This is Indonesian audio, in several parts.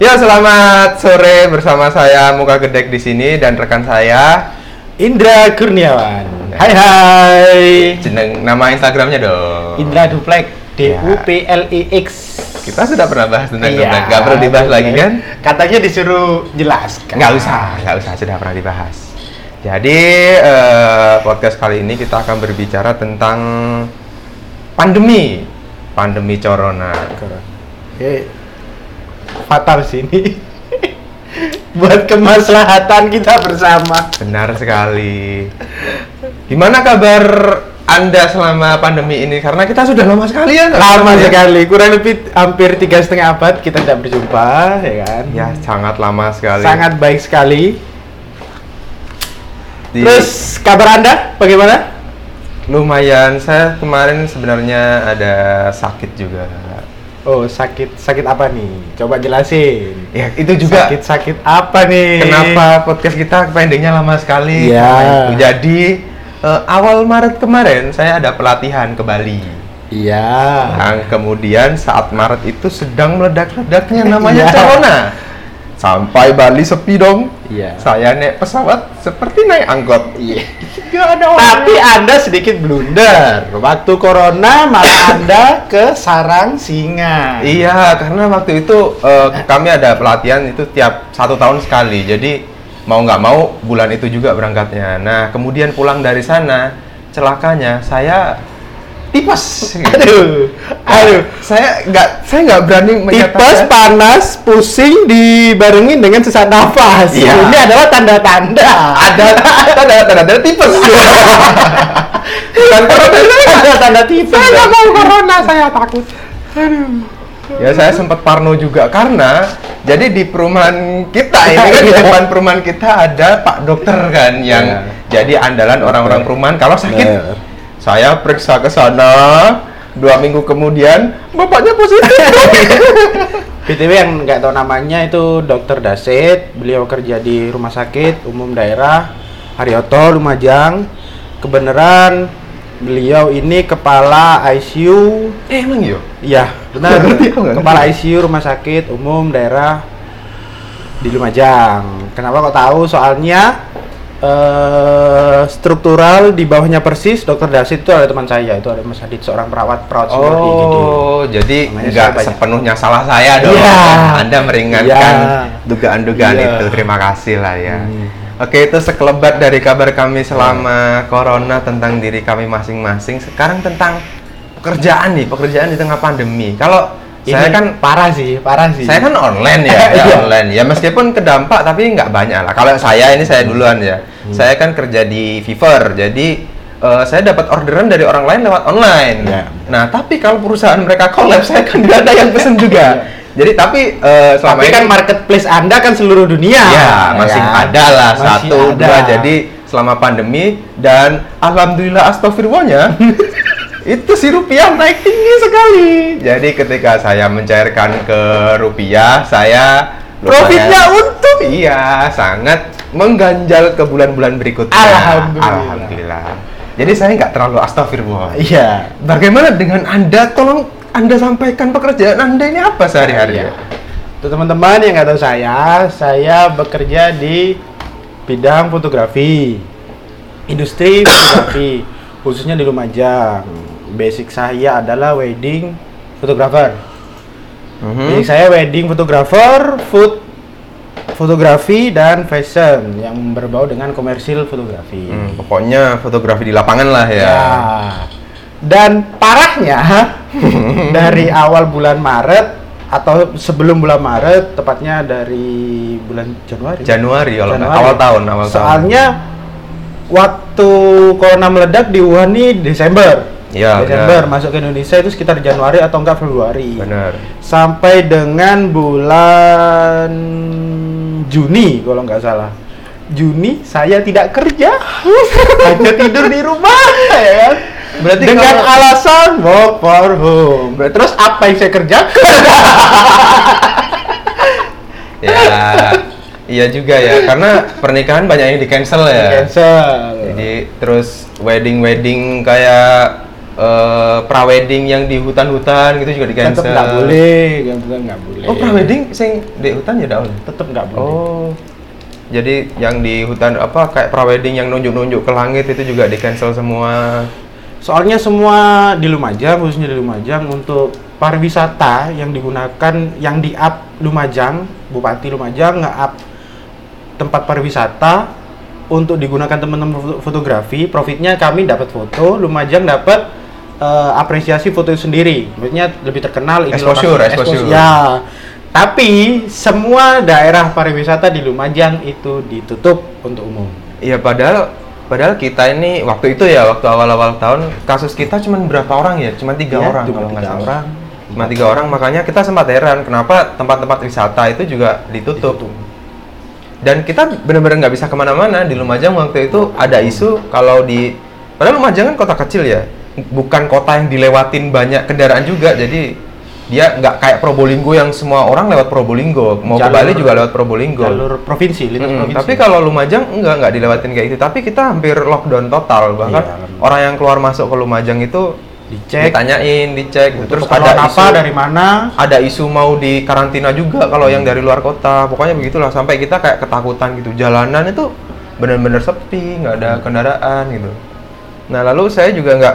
Ya selamat sore bersama saya Muka Gedek di sini dan rekan saya Indra Kurniawan. Hai hai. jeneng nama Instagramnya dong. Indra Duplek D Ya. U P L E X. Kita sudah pernah bahas tentang Iya, Geblek, nggak perlu dibahas Duplek. lagi kan? Katanya disuruh jelaskan. Nggak usah, nggak usah sudah pernah dibahas. Jadi eh, podcast kali ini kita akan berbicara tentang pandemi, pandemi corona. Eh, fatal sini. Buat kemaslahatan kita bersama. Benar sekali. Gimana kabar anda selama pandemi ini? Karena kita sudah lama sekali ya. nggak Lama ketemu ya? sekali, kurang lebih hampir tiga setengah abad kita tidak berjumpa, ya kan? Ya sangat lama sekali. Sangat baik sekali. Di- Terus kabar anda bagaimana? Lumayan, saya kemarin sebenarnya ada sakit juga. Oh sakit sakit apa nih? Coba jelasin. Ya, itu juga. sakit sakit apa nih? Kenapa podcast kita pendeknya lama sekali? Iya. Karena itu. Jadi eh, awal Maret kemarin saya ada pelatihan ke Bali. Iya. Nah, kemudian saat Maret itu sedang meledak-ledaknya namanya Iya. corona. Sampai Bali sepi dong. Iya. Saya naik pesawat seperti naik angkot. Iya. Gak ada Tapi anda sedikit blunder. Waktu corona malah anda ke sarang singa. Iya, karena waktu itu eh, kami ada pelatihan itu tiap satu tahun sekali. Jadi mau nggak mau bulan itu juga berangkatnya. Nah, kemudian pulang dari sana, celakanya saya tipes. Aduh, aduh. saya nggak saya nggak berani Tipes, menyatakan. panas, pusing dibarengin dengan sesak nafas. Iya. Ini adalah tanda-tanda. ada ada ada ada tipes. Dan corona saya nggak- tanda-tanda tipes. saya nggak mau corona saya takut. Ya saya sempat parno juga karena jadi di perumahan kita ini kan di depan perumahan kita ada Pak Dokter kan yang Ya. jadi andalan orang-orang perumahan kalau sakit. Ya. Saya periksa ke sana dua minggu kemudian bapaknya positif. BTW yang nggak tahu namanya itu Dr. Dasit, beliau kerja di rumah sakit umum daerah Haryoto Lumajang. Kebenaran beliau ini kepala ICU, eh, emang yo. ya Nggak benar, ngerti, aku nggak kepala ngerti. ICU rumah sakit umum daerah di Lumajang. Kenapa kok tahu? Soalnya eh, struktural di bawahnya persis Dr. Dasit itu ada teman saya, itu ada Mas Adit seorang perawat perawat gitu. senior di IGD. Oh, jadi Namanya nggak siapa ya? sepenuhnya salah saya dong. Iya. Anda meringankan Iya. dugaan-dugaan Iya. itu. Terima kasih lah ya. Hmm. Oke, itu sekelebat dari kabar kami selama corona tentang diri kami masing-masing. Sekarang tentang pekerjaan nih, pekerjaan di tengah pandemi. Kalau Ini saya kan parah sih, parah sih. saya kan online ya, ya Iya. online ya meskipun kedampak tapi nggak banyak lah. Kalau saya ini saya duluan ya, Hmm. saya kan kerja di Fiverr, jadi eh, saya dapat orderan dari orang lain lewat online. Iya. Nah tapi kalau perusahaan mereka collab, saya kan nggak ada yang pesen juga. Jadi tapi eh, selama Tapi ini kan marketplace Anda kan seluruh dunia. ya masih ada lah Masih satu ada. dua. Jadi selama pandemi dan alhamdulillah astagfirullahnya itu si rupiah naik tinggi sekali. Jadi ketika saya mencairkan ke rupiah, saya Profitnya lumayan- Iya, sangat mengganjal ke bulan-bulan berikutnya. Alhamdulillah. Alhamdulillah. Jadi saya nggak terlalu astagfirullah. Iya. Bagaimana dengan Anda? Tolong Anda sampaikan pekerjaan Anda ini apa sehari-hari? Iya. Tuh teman-teman yang nggak tahu saya, saya bekerja di bidang fotografi, industri fotografi, khususnya di Lumajang. Basic saya adalah wedding photographer. Mhm. Basic saya wedding photographer, food fotografi dan fashion yang berbau dengan komersil fotografi. Hmm, pokoknya fotografi di lapangan lah ya. Ya. Dan parahnya dari awal bulan Maret atau sebelum bulan Maret, tepatnya dari bulan Januari. Januari kalau nggak- Januari. awal tahun, awal tahun. Soalnya waktu corona meledak di Wuhan nih Desember. Iya, Desember benar. masuk ke Indonesia itu sekitar Januari atau enggak Februari. Benar. Sampai dengan bulan Juni kalau nggak salah. Juni saya tidak kerja, hanya tidur di rumah ya kan. Berarti dengan kalau- alasan work from home. Nah, Terus apa yang saya kerjakan? Ya. iya juga ya, karena pernikahan banyak yang di cancel ya. Cancel. Jadi terus wedding-wedding kayak eh, prawedding yang di hutan-hutan gitu juga di tetap cancel. nggak boleh Iya. nggak bukan nggak boleh Oh, prawedding sing di hutan ya nggak boleh. tetap nggak boleh Oh. Jadi yang di hutan apa kayak prawedding yang nunjuk-nunjuk ke langit itu juga di cancel semua. soalnya semua di Lumajang khususnya di Lumajang untuk pariwisata yang digunakan yang di up Lumajang Bupati Lumajang nggak up tempat pariwisata untuk digunakan teman-teman foto- fotografi profitnya kami dapat foto Lumajang dapat eh, apresiasi foto itu sendiri maksudnya lebih terkenal ini Exposure, lokasi- exposure. ya tapi semua daerah pariwisata di Lumajang itu ditutup untuk umum Iya padahal padahal kita ini waktu itu ya waktu awal-awal tahun kasus kita cuman berapa orang ya? Cuman tiga Iya, orang cuma kalau nggak tiga salah. orang. Cuma tiga orang makanya kita sempat heran kenapa tempat-tempat wisata itu juga ditutup. Dan kita benar-benar nggak bisa kemana-mana di Lumajang waktu itu ada isu kalau di padahal Lumajang kan kota kecil ya, bukan kota yang dilewatin banyak kendaraan juga jadi dia nggak kayak Probolinggo yang semua orang lewat Probolinggo mau ke Jalur- Bali juga lewat Probolinggo. jalur provinsi lintas Mm-mm, provinsi tapi kalau Lumajang enggak enggak dilewatin kayak gitu. Tapi kita hampir lockdown total bahkan Iya. orang yang keluar masuk ke Lumajang itu dicek ditanyain, dicek terus ada ada apa isu dari mana ada isu mau di karantina juga kalau yang dari luar kota. Pokoknya begitulah sampai kita kayak ketakutan gitu. Jalanan itu benar-benar sepi, nggak ada kendaraan gitu. Nah, lalu saya juga nggak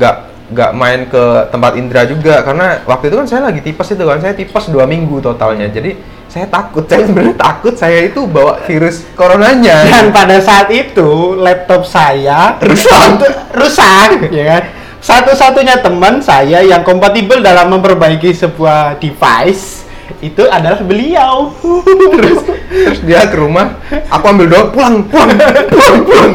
nggak nggak main ke tempat Indra juga karena waktu itu kan saya lagi tipes itu kan saya tipes dua minggu totalnya jadi saya takut saya sebenarnya takut saya itu bawa virus coronanya dan pada saat itu laptop saya Rusak. Itu rusak ya kan satu-satunya teman saya yang kompatibel dalam memperbaiki sebuah device itu adalah beliau terus terus dia ke rumah aku ambil doang pulang pulang pulang pulang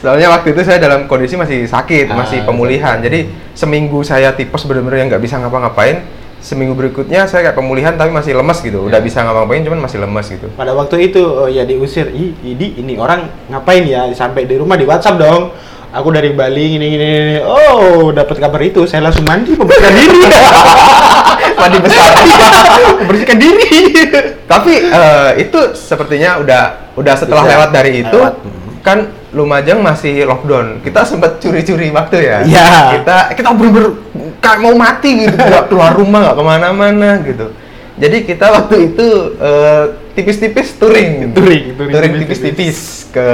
soalnya waktu itu saya dalam kondisi masih sakit Ah, masih pemulihan jadi seminggu saya tipes bener-bener yang nggak bisa ngapa-ngapain seminggu berikutnya saya kayak pemulihan tapi masih lemes gitu udah bisa ngapa-ngapain cuman masih lemes gitu pada waktu itu oh ya diusir Ih, ini ini orang ngapain ya sampai di rumah di WhatsApp dong aku dari Bali ini ini, ini. oh dapat kabar itu saya langsung mandi membersihkan diri mandi besar membersihkan diri tapi eh, itu sepertinya udah udah setelah Udah. lewat dari itu Lewat. kan Lumajang masih lockdown kita sempat curi-curi waktu ya Iya. kita kita bener-bener kayak mau mati gitu nggak keluar rumah nggak kemana-mana gitu jadi kita waktu itu eh, tipis-tipis touring Touring, touring, touring tipis-tipis. tipis-tipis ke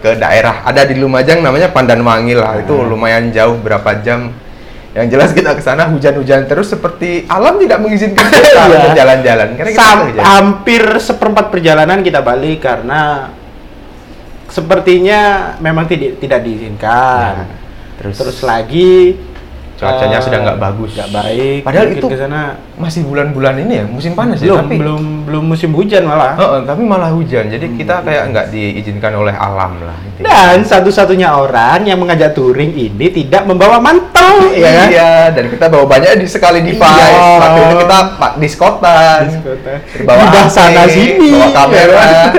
ke daerah ada di Lumajang namanya Pandanwangi lah itu Ah. lumayan jauh berapa jam yang jelas kita ke sana hujan-hujan terus seperti alam tidak mengizinkan kita Iya. untuk jalan-jalan karena kita Sam- hujan. hampir seperempat perjalanan kita balik karena sepertinya memang tidak tidak diizinkan. Ya, terus, terus- lagi cuacanya eh, sedang nggak bagus. nggak baik. Padahal Mungkin itu ke sana masih bulan-bulan ini ya musim panas belum ya tapi Oh, belum belum musim hujan malah. Heeh, tapi malah hujan jadi kita kayak nggak diizinkan oleh alam lah intinya. Dan satu-satunya orang yang mengajak touring ini tidak membawa mantel, ya kan? iya dan kita bawa banyak di sekali device Iya. waktu itu kita pak diskotan Diskotan. bawa Udah AC, sana sini, bawa kamera ya kan?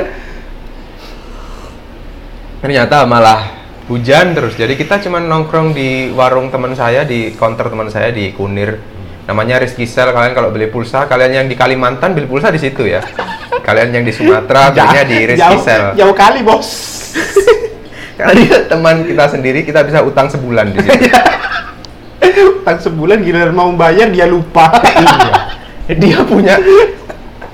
ternyata malah hujan terus jadi kita cuma nongkrong di warung teman saya di counter teman saya di Kunir namanya Rizky Sel kalian kalau beli pulsa kalian yang di Kalimantan beli pulsa di situ ya kalian yang di Sumatera belinya di Rizky jauh, Sel jauh kali bos. karena dia teman kita sendiri kita bisa utang sebulan di situ Utang sebulan giliran mau bayar dia lupa. Iya. dia punya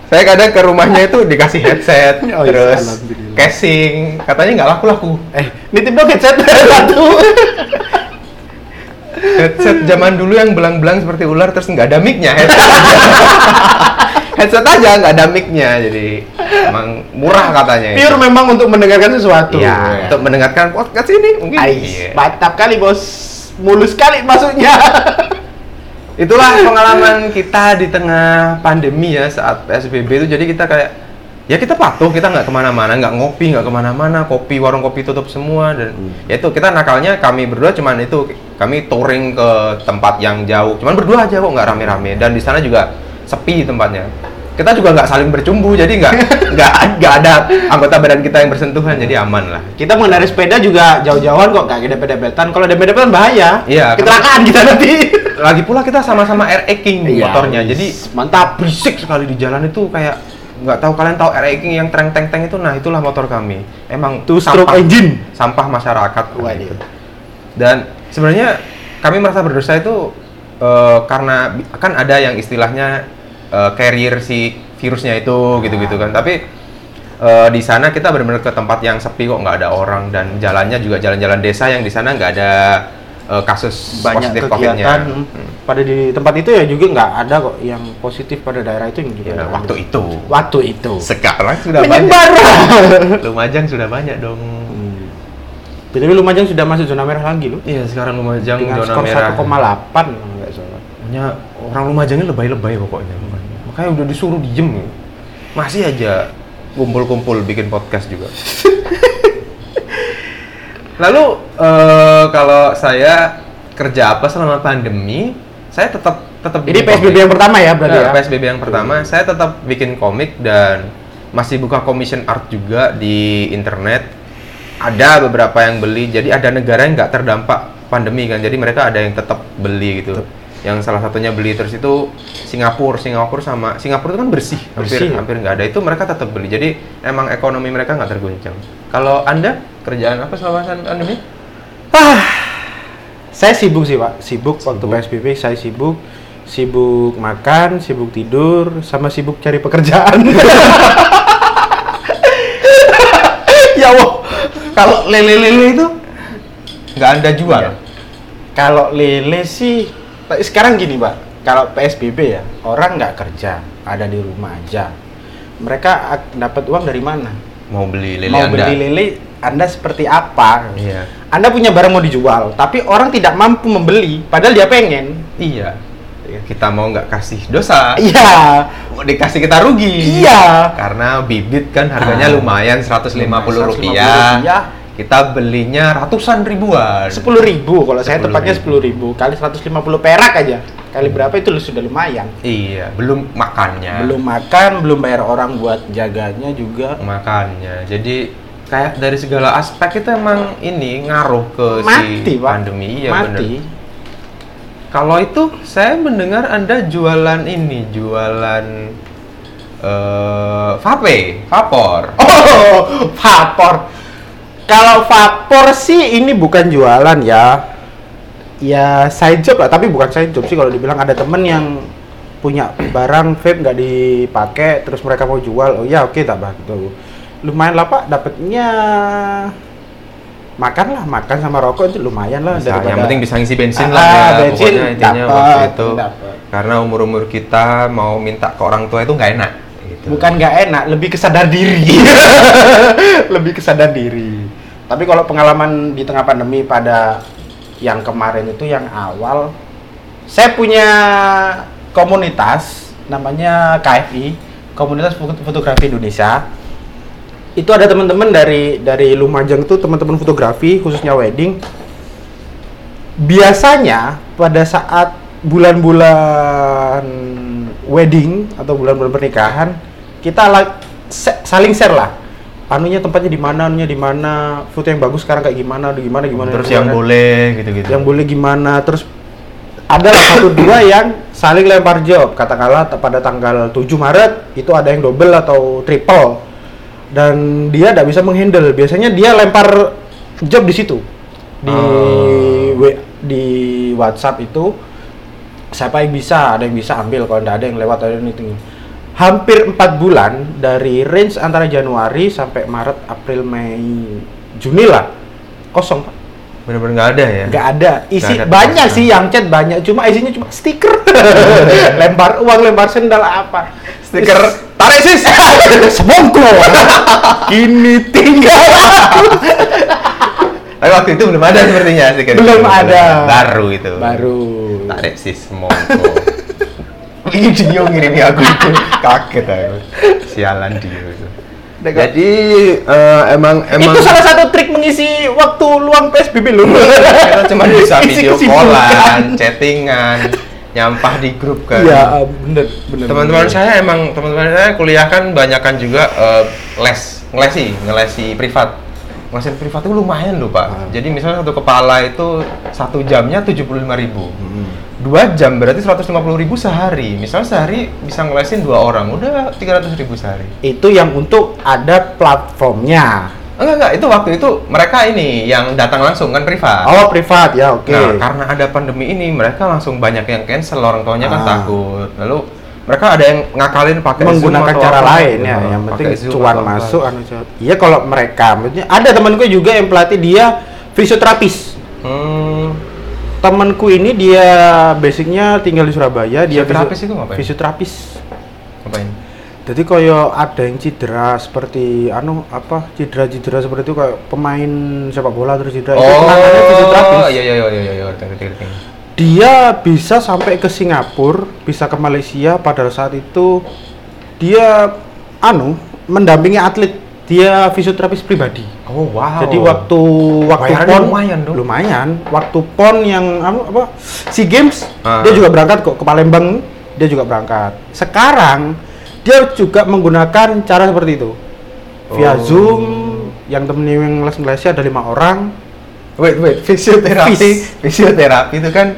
saya kadang ke rumahnya itu dikasih headset Oh, iya, terus alhamdulillah. casing katanya nggak laku laku eh, nitip dong headset satu. Hmm. headset zaman dulu yang belang belang seperti ular terus nggak ada micnya headset headset aja nggak ada micnya jadi emang murah katanya itu. Pure memang untuk mendengarkan sesuatu. Iya, untuk mendengarkan podcast ini mungkin Iya. Ais, mantap kali bos, mulus kali masuknya. Itulah pengalaman kita di tengah pandemi ya saat PSBB itu. Jadi kita kayak ya kita patuh, kita nggak kemana-mana, nggak ngopi, nggak kemana-mana, kopi warung kopi tutup semua dan ya itu kita nakalnya kami berdua cuman itu kami touring ke tempat yang jauh, cuman berdua aja kok nggak rame-rame dan di sana juga sepi tempatnya. Kita juga nggak saling bercumbu, jadi nggak nggak nggak ada anggota badan kita yang bersentuhan, jadi aman lah. Kita mengendarai sepeda juga jauh-jauhan kok, gak dempet-dempetan. Kalau dempet-dempetan bahaya, Iya, kecelakaan kita nanti. Lagi pula kita sama-sama RE King Iya, motornya, ais, jadi mantap. berisik sekali di jalan itu kayak nggak tahu kalian tahu RE King yang treng teng teng itu nah itulah motor kami emang Two stroke sampah, engine. sampah masyarakat Waduh. dan sebenarnya kami merasa berdosa itu eh, karena bi- kan ada yang istilahnya eh, carrier si virusnya itu gitu-gitu kan. Tapi eh, di sana kita benar-benar ke tempat yang sepi kok nggak ada orang dan jalannya juga jalan-jalan desa yang di sana nggak ada eh, kasus banyak positif COVID-nya. kegiatan pada di tempat itu ya juga nggak ada kok yang positif pada daerah itu yang juga Ya, nggak ada. waktu itu. waktu itu Sekarang sudah banyak. menyebar Lumajang sudah banyak dong. Hmm. Tapi Lumajang sudah masuk zona merah lagi loh. Iya sekarang Lumajang Dengan zona skor merah. Hmm. 1,8 kalau nggak salah. Pokoknya orang Lumajang ini lebay-lebay pokoknya. Makanya udah disuruh diem. gitu. Masih aja kumpul-kumpul bikin podcast juga. Lalu eh, kalau saya kerja apa selama pandemi, saya tetap tetap Ini bikin PSBB komik. yang pertama ya berarti Nah, ya. PSBB yang pertama, saya tetap bikin komik dan masih buka commission art juga di internet. Ada beberapa yang beli, jadi ada negara yang nggak terdampak pandemi kan, jadi mereka ada yang tetap beli gitu. Yang salah satunya beli terus itu Singapura, Singapura sama Singapura itu kan bersih, hampir Bersih. ya? hampir nggak ada itu mereka tetap beli. Jadi emang ekonomi mereka nggak tergoncang. Kalau anda kerjaan apa selama pandemi? Ah, saya sibuk sih pak, sibuk, waktu PSBB saya sibuk, sibuk makan, sibuk tidur, sama sibuk cari pekerjaan. ya Allah, kalau lele-lele itu nggak anda jual. Iya. Kalau lele sih, tapi sekarang gini pak, kalau PSBB ya orang nggak kerja, ada di rumah aja. Mereka ak- dapat uang dari mana? Mau beli lele mau anda? beli lele, anda seperti apa? Iya. Anda punya barang mau dijual, tapi orang tidak mampu membeli, padahal dia pengen. Iya. Kita mau nggak kasih dosa. Iya, Mau dikasih kita rugi. Iya. Karena bibit kan harganya Ah. lumayan 150 Lumayan, rupiah. rupiah. Kita belinya ratusan ribuan. sepuluh ribu kalau saya 10.000. tepatnya sepuluh ribu kali 150 perak aja kali berapa itu lu sudah lumayan Iya, belum makannya. belum makan belum bayar orang buat jaganya juga makannya. Jadi kayak dari segala aspek itu emang ini ngaruh ke mati si pak pandemi. Iya, mati bener. Kalau itu saya mendengar Anda jualan ini, jualan eh vape, vapor. oh vapor kalau vapor sih ini bukan jualan ya ya side job lah tapi bukan side job sih kalau dibilang ada temen yang punya barang vape nggak dipakai terus mereka mau jual oh ya oke tak bah gitu lumayan lah pak dapatnya makan lah makan sama rokok itu lumayan lah Bisa, yang penting bisa ngisi bensin Ah, lah ya bensin pokoknya intinya dapet, waktu itu dapet. karena umur umur kita mau minta ke orang tua itu nggak enak gitu. bukan nggak enak lebih kesadar diri lebih kesadar diri tapi kalau pengalaman di tengah pandemi pada yang kemarin itu yang awal saya punya komunitas namanya KFI komunitas Foto- fotografi Indonesia itu ada teman-teman dari dari Lumajang tuh teman-teman fotografi khususnya wedding biasanya pada saat bulan-bulan wedding atau bulan-bulan pernikahan kita la- se- saling share lah anunya tempatnya di mana anunya di mana foto yang bagus sekarang kayak gimana aduh gimana gimana terus gimana. kan. yang boleh gitu gitu yang boleh gimana terus ada lah satu dua yang saling lempar job katakanlah t- pada tanggal 7 Maret itu ada yang double atau triple dan dia tidak bisa menghandle biasanya dia lempar job di situ di Oh. W- di WhatsApp itu siapa yang bisa ada yang bisa ambil kalau tidak ada yang lewat ada yang itu hampir empat bulan dari range antara Januari sampai Maret April Mei Juni lah kosong Pak bener-bener nggak ada ya nggak ada isi Nggak ada ya. banyak terusnya. sih yang chat banyak cuma isinya cuma stiker lempar uang lempar sendal apa stiker tarik sis semongko kini tinggal tapi waktu itu belum ada sepertinya stiker belum itu. ada baru itu baru tarik sis mongko ini dia ngirimi aku itu kaget aku sialan dia itu jadi eh, emang emang itu salah satu trik mengisi waktu luang PSBB lu kita cuma bisa Isi video kesibukan. callan, chattingan, nyampah di grup kan. iya bener bener Teman-teman bener. saya emang teman-teman saya kuliah kan banyakan juga eh, les, ngelesi, ngelesi privat. Ngelesi privat itu lumayan loh, Pak. Ah. Jadi misalnya satu kepala itu satu jamnya 75.000. Hmm. Dua jam berarti 150.000 sehari. Misalnya sehari bisa ngelesin dua orang, udah 300.000 sehari. itu yang untuk ada platformnya Enggak, enggak. Itu waktu itu mereka ini yang datang langsung kan privat. Oh, privat ya, oke. Nah, karena ada pandemi ini mereka langsung banyak yang cancel. Orang tuanya kan Ah. takut. Lalu mereka ada yang ngakalin pakai Zoom menggunakan atau cara apa. lain Gitu. ya. Yang penting Pakai Zoom cuan atau apa. masuk anu cuan. Iya kalau mereka maksudnya ada teman gue juga yang pelatih dia fisioterapis. Hmm. Temanku ini dia basicnya tinggal di Surabaya, dia Fisioterapis fisio- itu ngapain? Fisioterapis. Ngapain? Jadi koyo ada yang cedera seperti anu apa cedera-cedera seperti itu kayak pemain sepak bola terus cedera itu penanganannya Oh, fisioterapis. iya iya iya iya iya. Ngerti, ngerti, ngerti. Dia bisa sampai ke Singapura, bisa ke Malaysia pada saat itu dia anu mendampingi atlet, dia fisioterapis pribadi. Oh, wow. Jadi waktu waktu Bayarannya pon lumayan dong. lumayan. Waktu pon yang apa, apa si games Ah. dia juga berangkat kok ke Palembang dia juga berangkat. Sekarang dia juga menggunakan cara seperti itu via Oh. zoom yang temennya yang les Malaysia ada lima orang. Wait, wait, fisioterapi, Fis. fisioterapi itu kan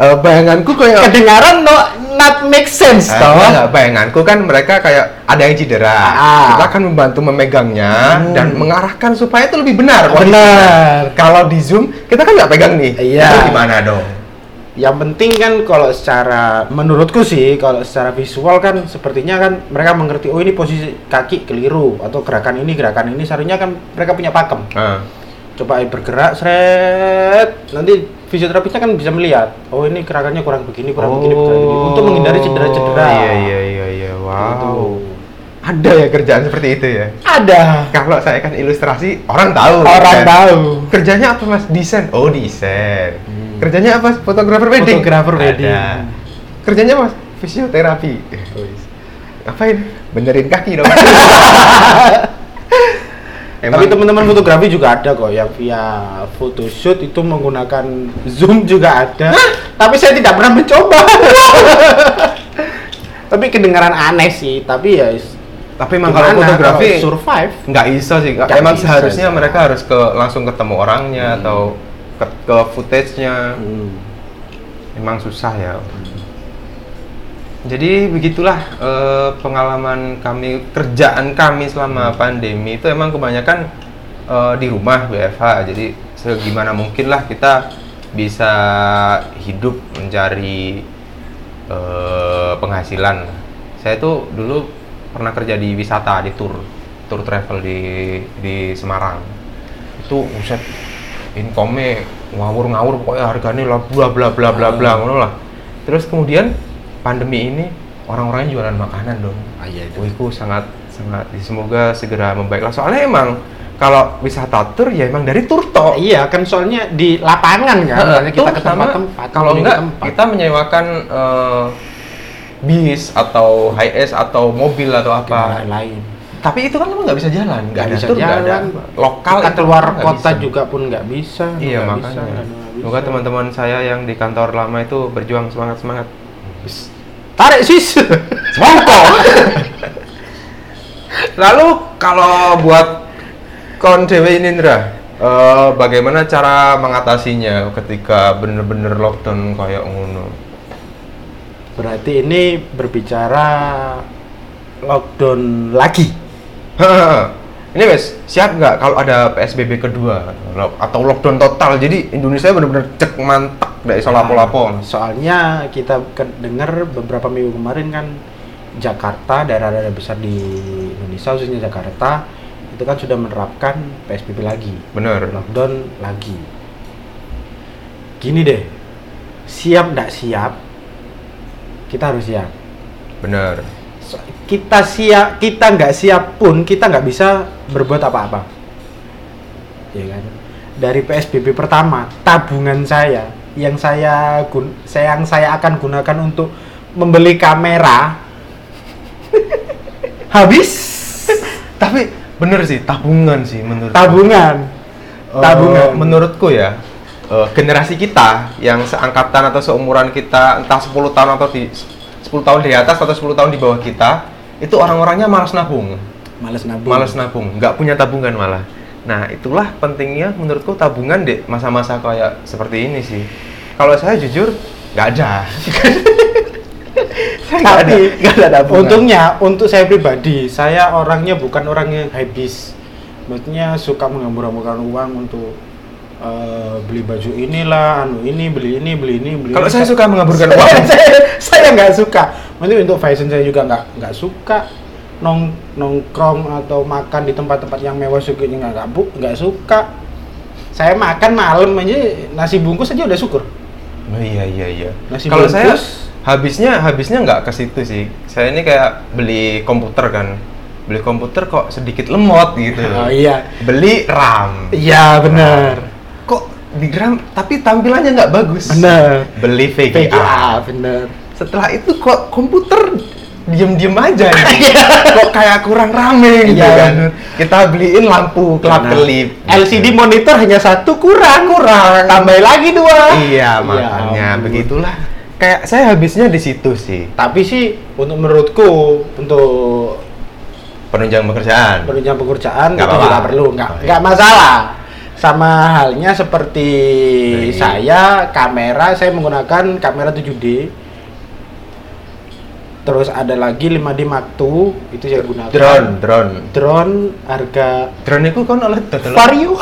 eh, bayanganku kayak Kedengaran no not make sense Eh, toh. enggak, bayanganku kan mereka kayak ada yang cedera. Kan Ah. Kita akan membantu memegangnya Hmm. dan mengarahkan supaya itu lebih benar. Benar. Kalau di Zoom kita kan nggak pegang nih. Iya. Itu gimana dong? Yang penting kan kalau secara menurutku sih kalau secara visual kan sepertinya kan mereka mengerti oh ini posisi kaki keliru atau gerakan ini gerakan ini seharusnya kan mereka punya pakem. Ah. coba ayo bergerak seret nanti fisioterapisnya kan bisa melihat oh ini gerakannya kurang begini kurang begini kurang begini untuk menghindari cedera-cedera Oh. Iya, iya, iya, iya. Gitu. Wow. Ada ya kerjaan seperti itu ya. ada Kalau saya kan ilustrasi, orang tahu. orang kan? tahu Kerjanya apa mas? Desain. Oh desain. Kerjanya apa? Hmm. Fotografer wedding. Fotografer Ada. wedding. Kerjanya mas? Fisioterapi. Oh, iya. Ngapain? Benerin kaki dong. tapi teman-teman fotografi juga ada kok yang via photoshoot itu menggunakan zoom juga ada tapi saya tidak pernah mencoba tapi kedengaran aneh sih tapi ya tapi emang kalau gimana, fotografi kalau survive nggak iso sih. Nggak- Nggak emang iso seharusnya sih. mereka harus ke langsung ketemu orangnya atau ke, ke footage-nya. Hmm. Emang susah ya. Jadi begitulah eh, pengalaman kami, kerjaan kami selama pandemi itu emang kebanyakan eh, di rumah WFH. Jadi segimana mungkin lah kita bisa hidup mencari eh, penghasilan. Saya tuh dulu pernah kerja di wisata di tour, tour travel di di Semarang itu buset income ngawur-ngawur pokoknya harganya lah bla bla bla bla Ah. bla ngono lah terus kemudian pandemi ini orang-orangnya jualan makanan dong Ah, iya itu. Wah, itu sangat sangat semoga segera membaiklah soalnya emang kalau wisata tur ya emang dari tur tok Iya kan soalnya di lapangan kan, Heeh, soalnya kita tur ke sama tempat-tempat. kalau kunjungi enggak tempat. kita menyewakan eh, bis atau high S atau mobil atau apa kendaraan lain. tapi itu kan kamu nggak bisa jalan nggak ada bisa tur nggak ada jalan. lokal kita itu keluar nggak kota bisa. juga pun nggak bisa. Iya nggak makanya. bisa, nggak ada- nggak Semoga bisa. teman-teman saya yang di kantor lama itu berjuang semangat semangat. Tarik sis. Semongko. Lalu kalau buat kon dewe ini Indra, eh, bagaimana cara mengatasinya ketika bener-bener lockdown kayak ngono? Berarti ini berbicara lockdown lagi. ini guys siap nggak kalau ada PSBB kedua lo- atau lockdown total? Jadi Indonesia bener-bener cek mantak dari iso lapo-lapo. Soalnya kita ke- dengar beberapa minggu kemarin kan Jakarta, daerah-daerah besar di Indonesia khususnya Jakarta itu kan sudah menerapkan PSBB lagi. Bener. lockdown lagi. Gini deh, siap nggak siap? Kita harus siap. Bener. So- Kita siap, kita nggak siap pun kita nggak bisa berbuat apa-apa. Ya kan? Dari PSBB pertama, tabungan saya yang saya gun, saya- yang saya akan gunakan untuk membeli kamera habis Tapi bener sih tabungan sih menurut. tabungan. Eh, Tabungan. menurutku ya eh, generasi kita yang seangkatan atau seumuran kita entah 10 tahun atau di 10 tahun di atas atau 10 tahun di bawah kita itu orang-orangnya malas nabung Males nabung. malas nabung nggak punya tabungan malah nah itulah pentingnya menurutku tabungan dek masa-masa kayak seperti ini sih kalau saya jujur nggak ada Saya nggak ada tapi nggak ada tabungan untungnya untuk saya pribadi saya orangnya bukan orang yang habis maksudnya suka menghambur-hamburkan uang untuk eh, beli baju inilah, anu ini, beli ini, beli ini, beli Kalau ini. saya suka mengaburkan Saya- uang. saya saya nggak suka. Maksudnya untuk fashion saya juga nggak nggak suka nong nongkrong atau makan di tempat-tempat yang mewah syukurnya nggak nggak bu- nggak suka. Saya makan malam aja nasi bungkus aja udah syukur. Oh, iya iya iya. Nasi Kalau bungkus. saya habisnya habisnya nggak ke situ sih. Saya ini kayak beli komputer kan. Beli komputer kok sedikit lemot gitu. Oh iya, Beli RAM. iya benar. Kok di RAM tapi tampilannya nggak bagus. Benar. Beli VGA. PGA benar. Setelah itu kok komputer diem-diem aja gitu. kok kayak kurang rame gitu Iya, kan. bener. Kita beliin lampu kelap-kelip. Nah, LCD monitor hanya satu kurang kurang tambah lagi dua Iya makanya Ya ampun. begitulah. Kayak saya habisnya di situ sih tapi sih untuk menurutku untuk penunjang pekerjaan. penunjang pekerjaan Nggak itu apa-apa. tidak perlu nggak Oh, iya. nggak masalah sama halnya seperti Dari- saya kamera saya menggunakan kamera 7D terus ada lagi 5D Mark II itu saya gunakan Drone, drone. drone harga Drone itu kan oleh dodol. Vario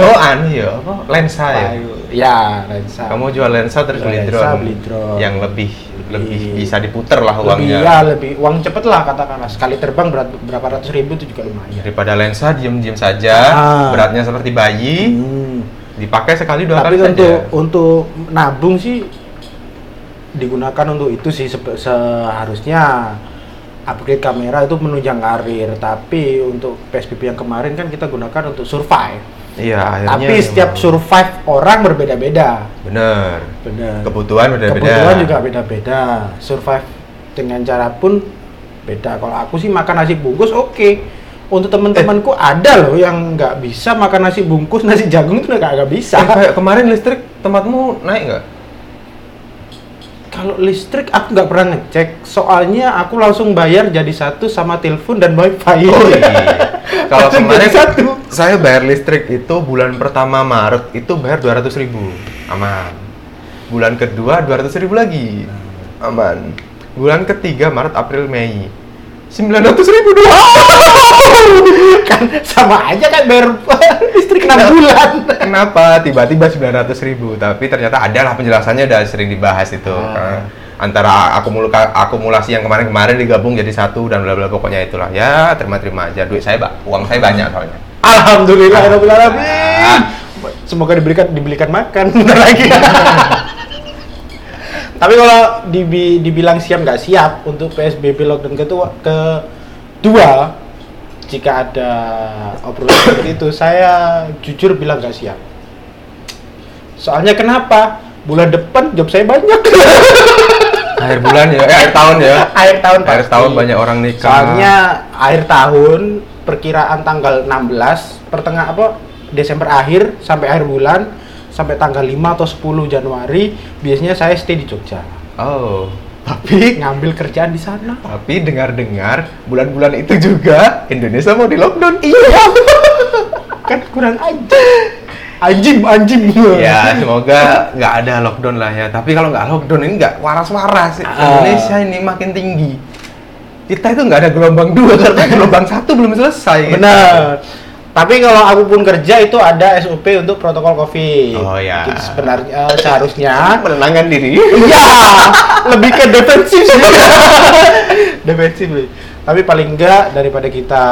Oh, anu ya, apa? Lensa ya. ya lensa Kamu jual lensa terus beli Lensa, drone. beli drone. Yang lebih lebih Lebih- bisa diputer lah lebih uangnya. ya lebih uang cepet lah katakanlah sekali terbang berat berapa ratus ribu itu juga lumayan Daripada lensa diam-diam saja, Ah. beratnya seperti bayi, dipakai sekali dua Hmm. tapi kali untuk saja. untuk nabung sih digunakan untuk itu sih sepe- seharusnya upgrade kamera itu menunjang karir tapi untuk PSBB yang kemarin kan kita gunakan untuk survive Iya, akhirnya. tapi memang. setiap survive orang berbeda-beda Bener. benar Kebutuhan beda-beda. kebutuhan juga beda-beda survive dengan cara pun beda kalau aku sih makan nasi bungkus oke untuk teman-temanku Eh. ada loh yang nggak bisa makan nasi bungkus nasi jagung itu nggak nggak bisa Eh, kayak kemarin listrik tempatmu naik nggak? kalau listrik aku nggak pernah ngecek soalnya aku langsung bayar jadi satu sama telepon dan wifi Oh iya. Kalau Langsung kemarin jadi satu saya bayar listrik itu bulan pertama Maret itu bayar 200.000 ribu aman. Bulan kedua 200.000 ribu lagi aman. Bulan ketiga Maret April Mei 900.000 ribu kan sama aja kan bayar listrik Iya. enam bulan Kenapa tiba-tiba 900.000 ribu? Tapi ternyata adalah penjelasannya udah sering dibahas itu Ah. antara akumulka- akumulasi yang kemarin-kemarin digabung jadi satu dan bla bla pokoknya itulah ya terima-terima aja duit saya pak uang saya banyak soalnya alhamdulillah ya Rabbil Alhamdulillah. alamin semoga diberikan dibelikan makan bentar lagi tapi kalau dibi- dibilang siap nggak siap untuk PSBB lockdown kedua kedua jika ada obrolan seperti itu saya jujur bilang nggak siap soalnya kenapa bulan depan job saya banyak akhir bulan ya eh, akhir tahun ya akhir tahun akhir pasti. tahun banyak orang nikah Soalnya akhir tahun perkiraan tanggal 16 pertengah apa Desember akhir sampai akhir bulan sampai tanggal 5 atau 10 Januari biasanya saya stay di Jogja. oh Tapi ngambil kerjaan di sana. tapi dengar-dengar bulan-bulan itu juga Indonesia mau di lockdown iya kan kurang aja. Anjim, anjim. ya semoga nggak ada lockdown lah ya tapi kalau nggak lockdown ini nggak waras-waras Ah. Indonesia ini makin tinggi kita itu nggak ada gelombang dua karena gelombang satu belum selesai Benar. Tapi kalau aku pun kerja itu ada SOP untuk protokol Covid. Oh, ya. Jadi sebenarnya eh, seharusnya Ah, menenangkan diri Iya, lebih ke defensif sih. defensif sih. Tapi paling enggak daripada kita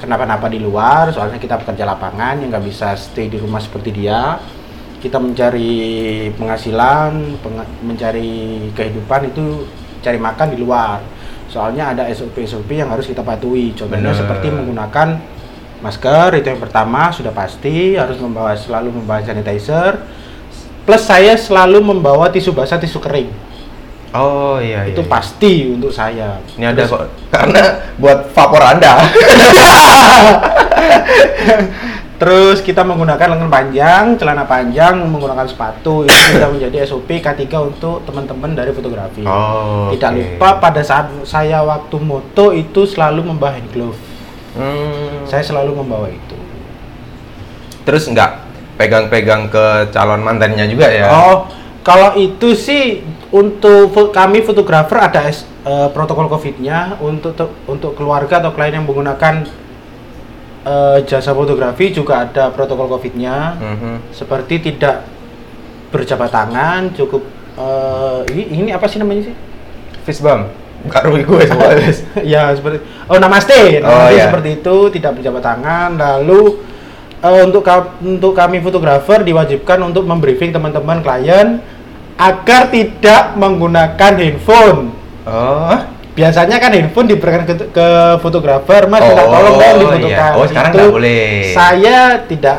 kenapa-napa di luar, soalnya kita pekerja lapangan yang nggak bisa stay di rumah seperti dia. Kita mencari penghasilan, peng- mencari kehidupan itu cari makan di luar. Soalnya ada SOP-SOP yang harus kita patuhi. Contohnya Bener. seperti menggunakan masker itu yang pertama sudah pasti harus membawa selalu membawa sanitizer. Plus saya selalu membawa tisu basah, tisu kering. oh iya, iya Itu iya. pasti untuk saya. ini ada kok karena buat vapor anda Terus kita menggunakan lengan panjang, celana panjang, menggunakan sepatu itu sudah menjadi SOP K3 untuk teman-teman dari fotografi. Oh, Tidak oke. lupa pada saat saya waktu moto itu selalu membawa hand glove. Hmm. Saya selalu membawa itu. Terus nggak pegang-pegang ke calon mantannya juga ya? Oh, kalau itu sih untuk fo- kami fotografer ada S- eh, protokol COVID-nya untuk te- untuk keluarga atau klien yang menggunakan eh, jasa fotografi juga ada protokol COVID-nya, Mhm. seperti tidak berjabat tangan, cukup eh, ini, ini apa sih namanya sih? Fist bump. Gak rugi gue semua guys. ya seperti oh namaste, Oh, namaste iya. seperti itu tidak berjabat tangan lalu eh, untuk ka- untuk kami fotografer diwajibkan untuk membriefing teman-teman klien agar tidak menggunakan handphone Oh, biasanya kan handphone diberikan ke, ke fotografer mas Oh, minta tolong dong iya. difotokan Oh, sekarang Itu nggak boleh. saya tidak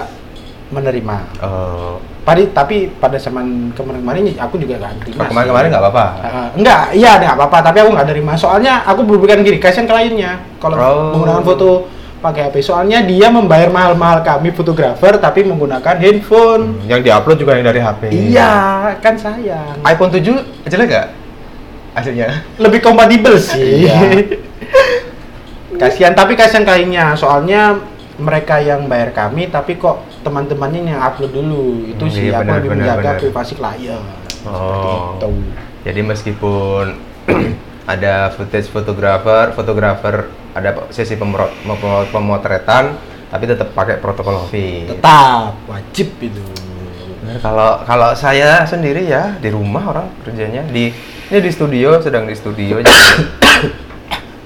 menerima oh. Padi- tapi pada zaman kemarin-kemarin aku juga nggak Kalau terima kemarin-kemarin nggak apa-apa. Uh, enggak, iya nggak apa-apa, tapi aku nggak terima. Soalnya aku berberikan gini, kasihan kliennya kalau Oh. menggunakan foto pakai HP. Soalnya dia membayar mahal-mahal kami fotografer tapi menggunakan handphone. Yang diupload juga yang dari HP. Iya, kan sayang. iPhone 7 jelek nggak? Hasilnya. Lebih kompatibel sih. Iya. kasihan, tapi kasihan kliennya. Soalnya mereka yang bayar kami tapi kok teman-temannya yang upload dulu. Itu Hmm, sih iya, aku benar, lebih benar, menjaga benar. privasi klien. Gitu. Oh. Seperti itu. Jadi meskipun ada footage fotografer, fotografer ada sesi pemro- pemro- pemotretan, tapi tetap pakai protokol COVID. Tetap wajib itu. Bener, Kalau kalau saya sendiri ya di rumah orang kerjanya di ini di studio sedang di studio. Jadi-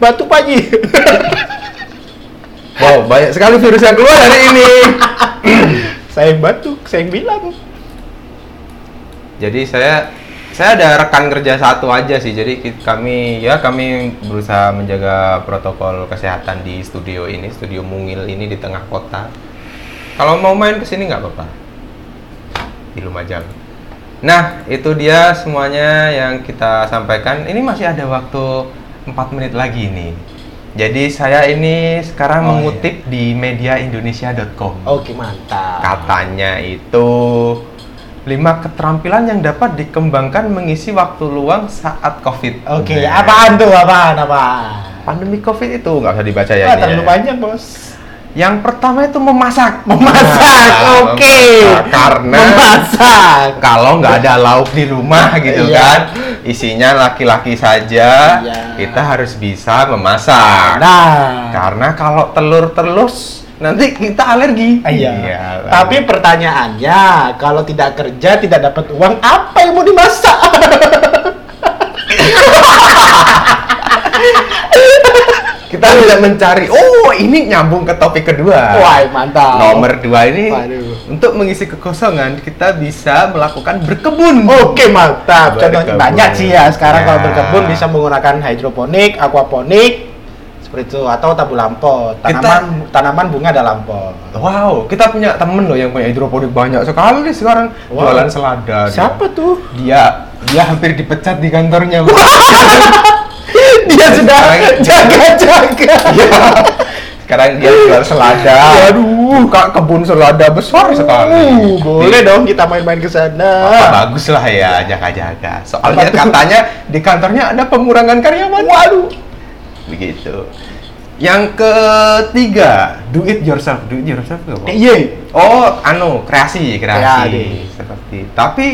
Batu pagi. wow banyak sekali virus yang keluar hari ini. saya yang batuk, saya yang bilang. Jadi saya saya ada rekan kerja satu aja sih. Jadi ki- kami ya kami berusaha menjaga protokol kesehatan di studio ini, studio mungil ini di tengah kota. Kalau mau main ke sini nggak apa-apa. Di Lumajang. Nah, itu dia semuanya yang kita sampaikan. Ini masih ada waktu 4 menit lagi nih. Jadi saya ini sekarang Oh, iya. mengutip di mediaindonesia.com. Oke, mantap. Katanya itu lima keterampilan yang dapat dikembangkan mengisi waktu luang saat COVID. Oke, Nah, apaan tuh? Apaan? Apaan? Pandemi COVID itu nggak usah dibaca ya. Wah, ini terlalu ya. panjang, Bos. Yang pertama itu memasak. Memasak, Nah, oke. memasak. Karena Memasak. kalau nggak ada lauk di rumah gitu Iya. kan, isinya laki-laki saja, Iya. kita harus bisa memasak. Nah, Karena kalau telur telus nanti kita alergi. iya. Iyalah. Tapi pertanyaannya, kalau tidak kerja, tidak dapat uang, apa yang mau dimasak? kita tidak mencari oh ini nyambung ke topik kedua Wah, mantap. Nah. nomor dua ini Waduh. untuk mengisi kekosongan kita bisa melakukan berkebun Oke mantap. Contohnya Berkebun. banyak sih ya. Sekarang kalau Ya. berkebun bisa menggunakan hidroponik, aquaponik, seperti itu atau tabu lampot. Kita- Tanaman tanaman bunga ada lampot. wow kita punya temen loh yang punya hidroponik banyak sekali sekarang Wow. jualan selada dia. Siapa tuh? dia dia hampir dipecat di kantornya Bu. Dia sudah Sekarang- jaga-jaga. gitu ya? Iya. sekarang dia jual selada Aduh. buka kebun selada besar Uh, sekali boleh dong kita main-main ke sana. Apa bagus lah ya jaga-jaga. Soalnya Apa tuh? katanya di kantornya ada pengurangan karyawan. Waduh. Begitu. Yang ketiga, do it yourself. Do it yourself nggak apa? Iya. Oh, anu, kreasi, Kreasi. kreasi. Seperti. Tapi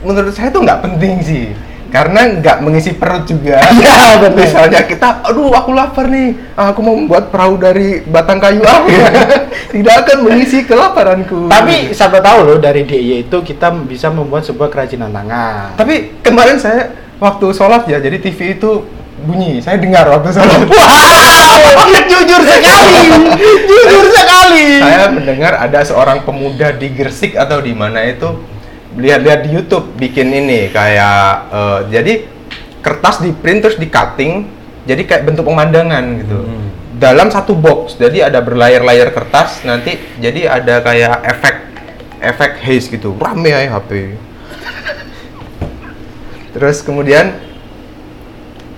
menurut saya itu nggak penting sih. Karena nggak mengisi perut juga. Iya, bener. Misalnya kita, aduh aku lapar nih, Ah, aku mau membuat perahu dari batang kayu aku. Tidak akan mengisi kelaparanku. Tapi siapa tahu loh dari DIY itu kita bisa membuat sebuah kerajinan tangan. Tapi kemarin saya waktu sholat ya, jadi TV itu bunyi. Saya dengar waktu sholat. Wow, jujur sekali, jujur sekali. saya mendengar ada seorang pemuda di Gresik atau di mana itu lihat-lihat di YouTube bikin ini kayak eh, jadi kertas di print terus di cutting jadi kayak bentuk pemandangan gitu dalam satu box jadi ada berlayar-layar kertas nanti jadi ada kayak efek efek haze gitu rame ya HP terus kemudian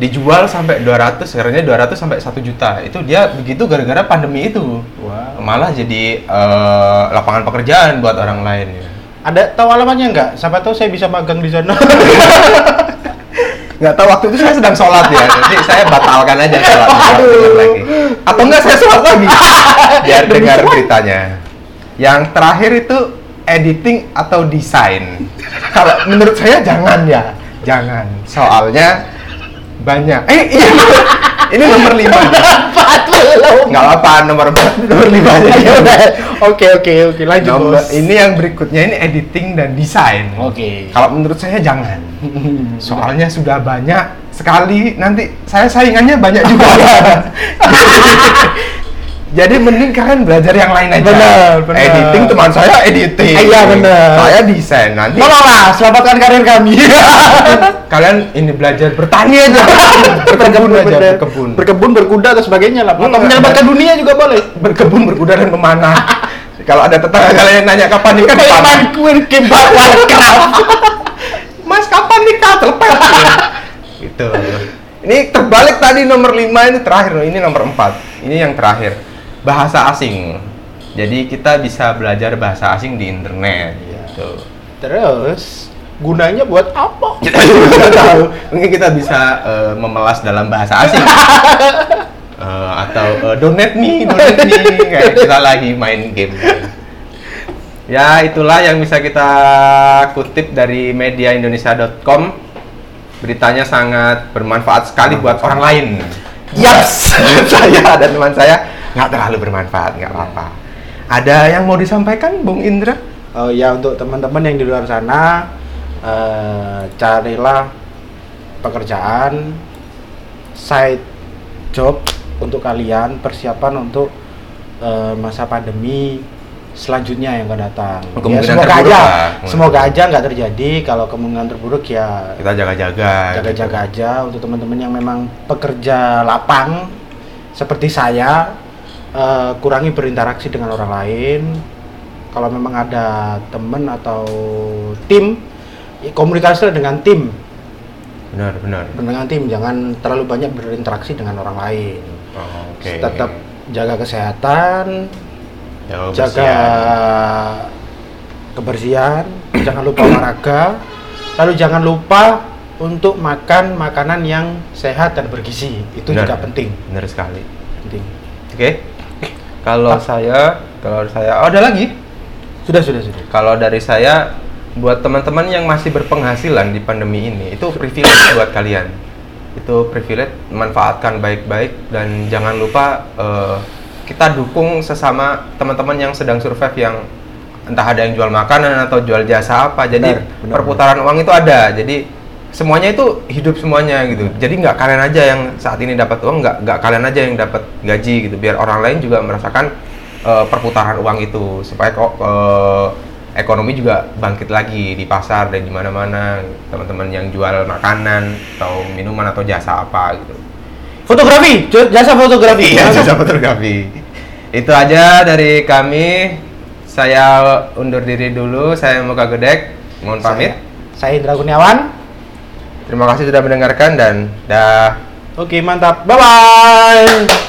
dijual sampai 200 harganya 200 sampai 1 juta itu dia begitu gara-gara pandemi itu Wow. malah jadi eh, lapangan pekerjaan buat orang lain ya. Ada tahu alamannya nggak? Siapa tahu saya bisa magang di sana. nggak tahu waktu itu saya sedang sholat ya jadi saya batalkan aja sholat Sholat dengar lagi atau enggak saya sholat lagi biar Demi dengar sholat. beritanya yang terakhir itu editing atau desain kalau menurut saya jangan ya jangan soalnya banyak eh iya ini nomor lima Apa tuh? belum. nggak apa nomor nomor lima aja. Oke oke oke lanjut Nomor- bos. Ya ini yang berikutnya ini editing dan desain. Oke. Kalau menurut saya jangan. Soalnya sudah banyak sekali. Nanti saya saingannya banyak juga. Jadi mending kalian belajar yang lain aja. Benar, benar. Editing teman saya editing. Iya, benar. Saya desain nanti. Tolonglah selamatkan karir kami. kalian ini belajar bertani aja. berkebun aja, Bener. berkebun. berkebun, berkuda dan sebagainya lah. Atau Enggak. menyelamatkan dunia juga boleh. berkebun berkuda dan memanah. Kalau ada tetangga kalian yang nanya kapan nikah, Kayak dipanah. main kuil kebab warcraft. Mas kapan nikah? Telepon. gitu. Ini terbalik tadi nomor 5 ini terakhir loh. Ini nomor 4. Ini yang terakhir. Bahasa asing. Jadi kita bisa belajar bahasa asing di internet gitu. Terus gunanya buat apa? Kita tahu. Mungkin kita bisa eh, memelas dalam bahasa asing. Eh, atau eh, donate me, donate me kayak kita lagi main game. Ya, itulah yang bisa kita kutip dari mediaindonesia.com. Beritanya sangat bermanfaat sekali buat orang lain. Yaps. saya dan teman saya nggak terlalu bermanfaat, nggak apa-apa. Ada yang mau disampaikan, Bung Indra? Oh ya untuk teman-teman yang di luar sana eh, carilah pekerjaan side job untuk kalian persiapan untuk eh, masa pandemi selanjutnya yang akan datang. Ya, Kemungkinan semoga terburuk aja, lah. semoga aja nggak terjadi. Kalau kemungkinan terburuk ya Kita jaga-jaga. jaga-jaga aja untuk teman-teman yang memang pekerja lapang seperti saya eh, kurangi berinteraksi dengan orang lain kalau memang ada teman atau tim ya komunikasi dengan tim Benar, benar. dengan tim jangan terlalu banyak berinteraksi dengan orang lain Oh, Oke. tetap jaga kesehatan Jauh jaga bersihan. kebersihan, jangan lupa olahraga, lalu jangan lupa untuk makan makanan yang sehat dan bergizi. Itu Benar. juga penting. Benar sekali. Penting. Oke. Kalau saya, kalau saya, oh, ada lagi. Sudah, sudah, sudah. Kalau dari saya, buat teman-teman yang masih berpenghasilan di pandemi ini, itu privilege buat kalian. Itu privilege, manfaatkan baik-baik dan jangan lupa eh, kita dukung sesama teman-teman yang sedang survive yang entah ada yang jual makanan atau jual jasa apa. Jadi Benar, benar. perputaran uang itu ada. Jadi semuanya itu hidup semuanya gitu. Jadi nggak kalian aja yang saat ini dapat uang, nggak nggak kalian aja yang dapat gaji gitu. Biar orang lain juga merasakan eh, perputaran uang itu supaya kok eh, ekonomi juga bangkit lagi di pasar dan di mana-mana. Teman-teman yang jual makanan atau minuman atau jasa apa gitu. Fotografi, ju- jasa fotografi. Iya, jasa fotografi. Itu aja dari kami. Saya undur diri dulu. Saya Muka Gedek. Mohon pamit. Saya, saya Indra Kurniawan. Terima kasih sudah mendengarkan dan dah. Oke, mantap. Bye bye.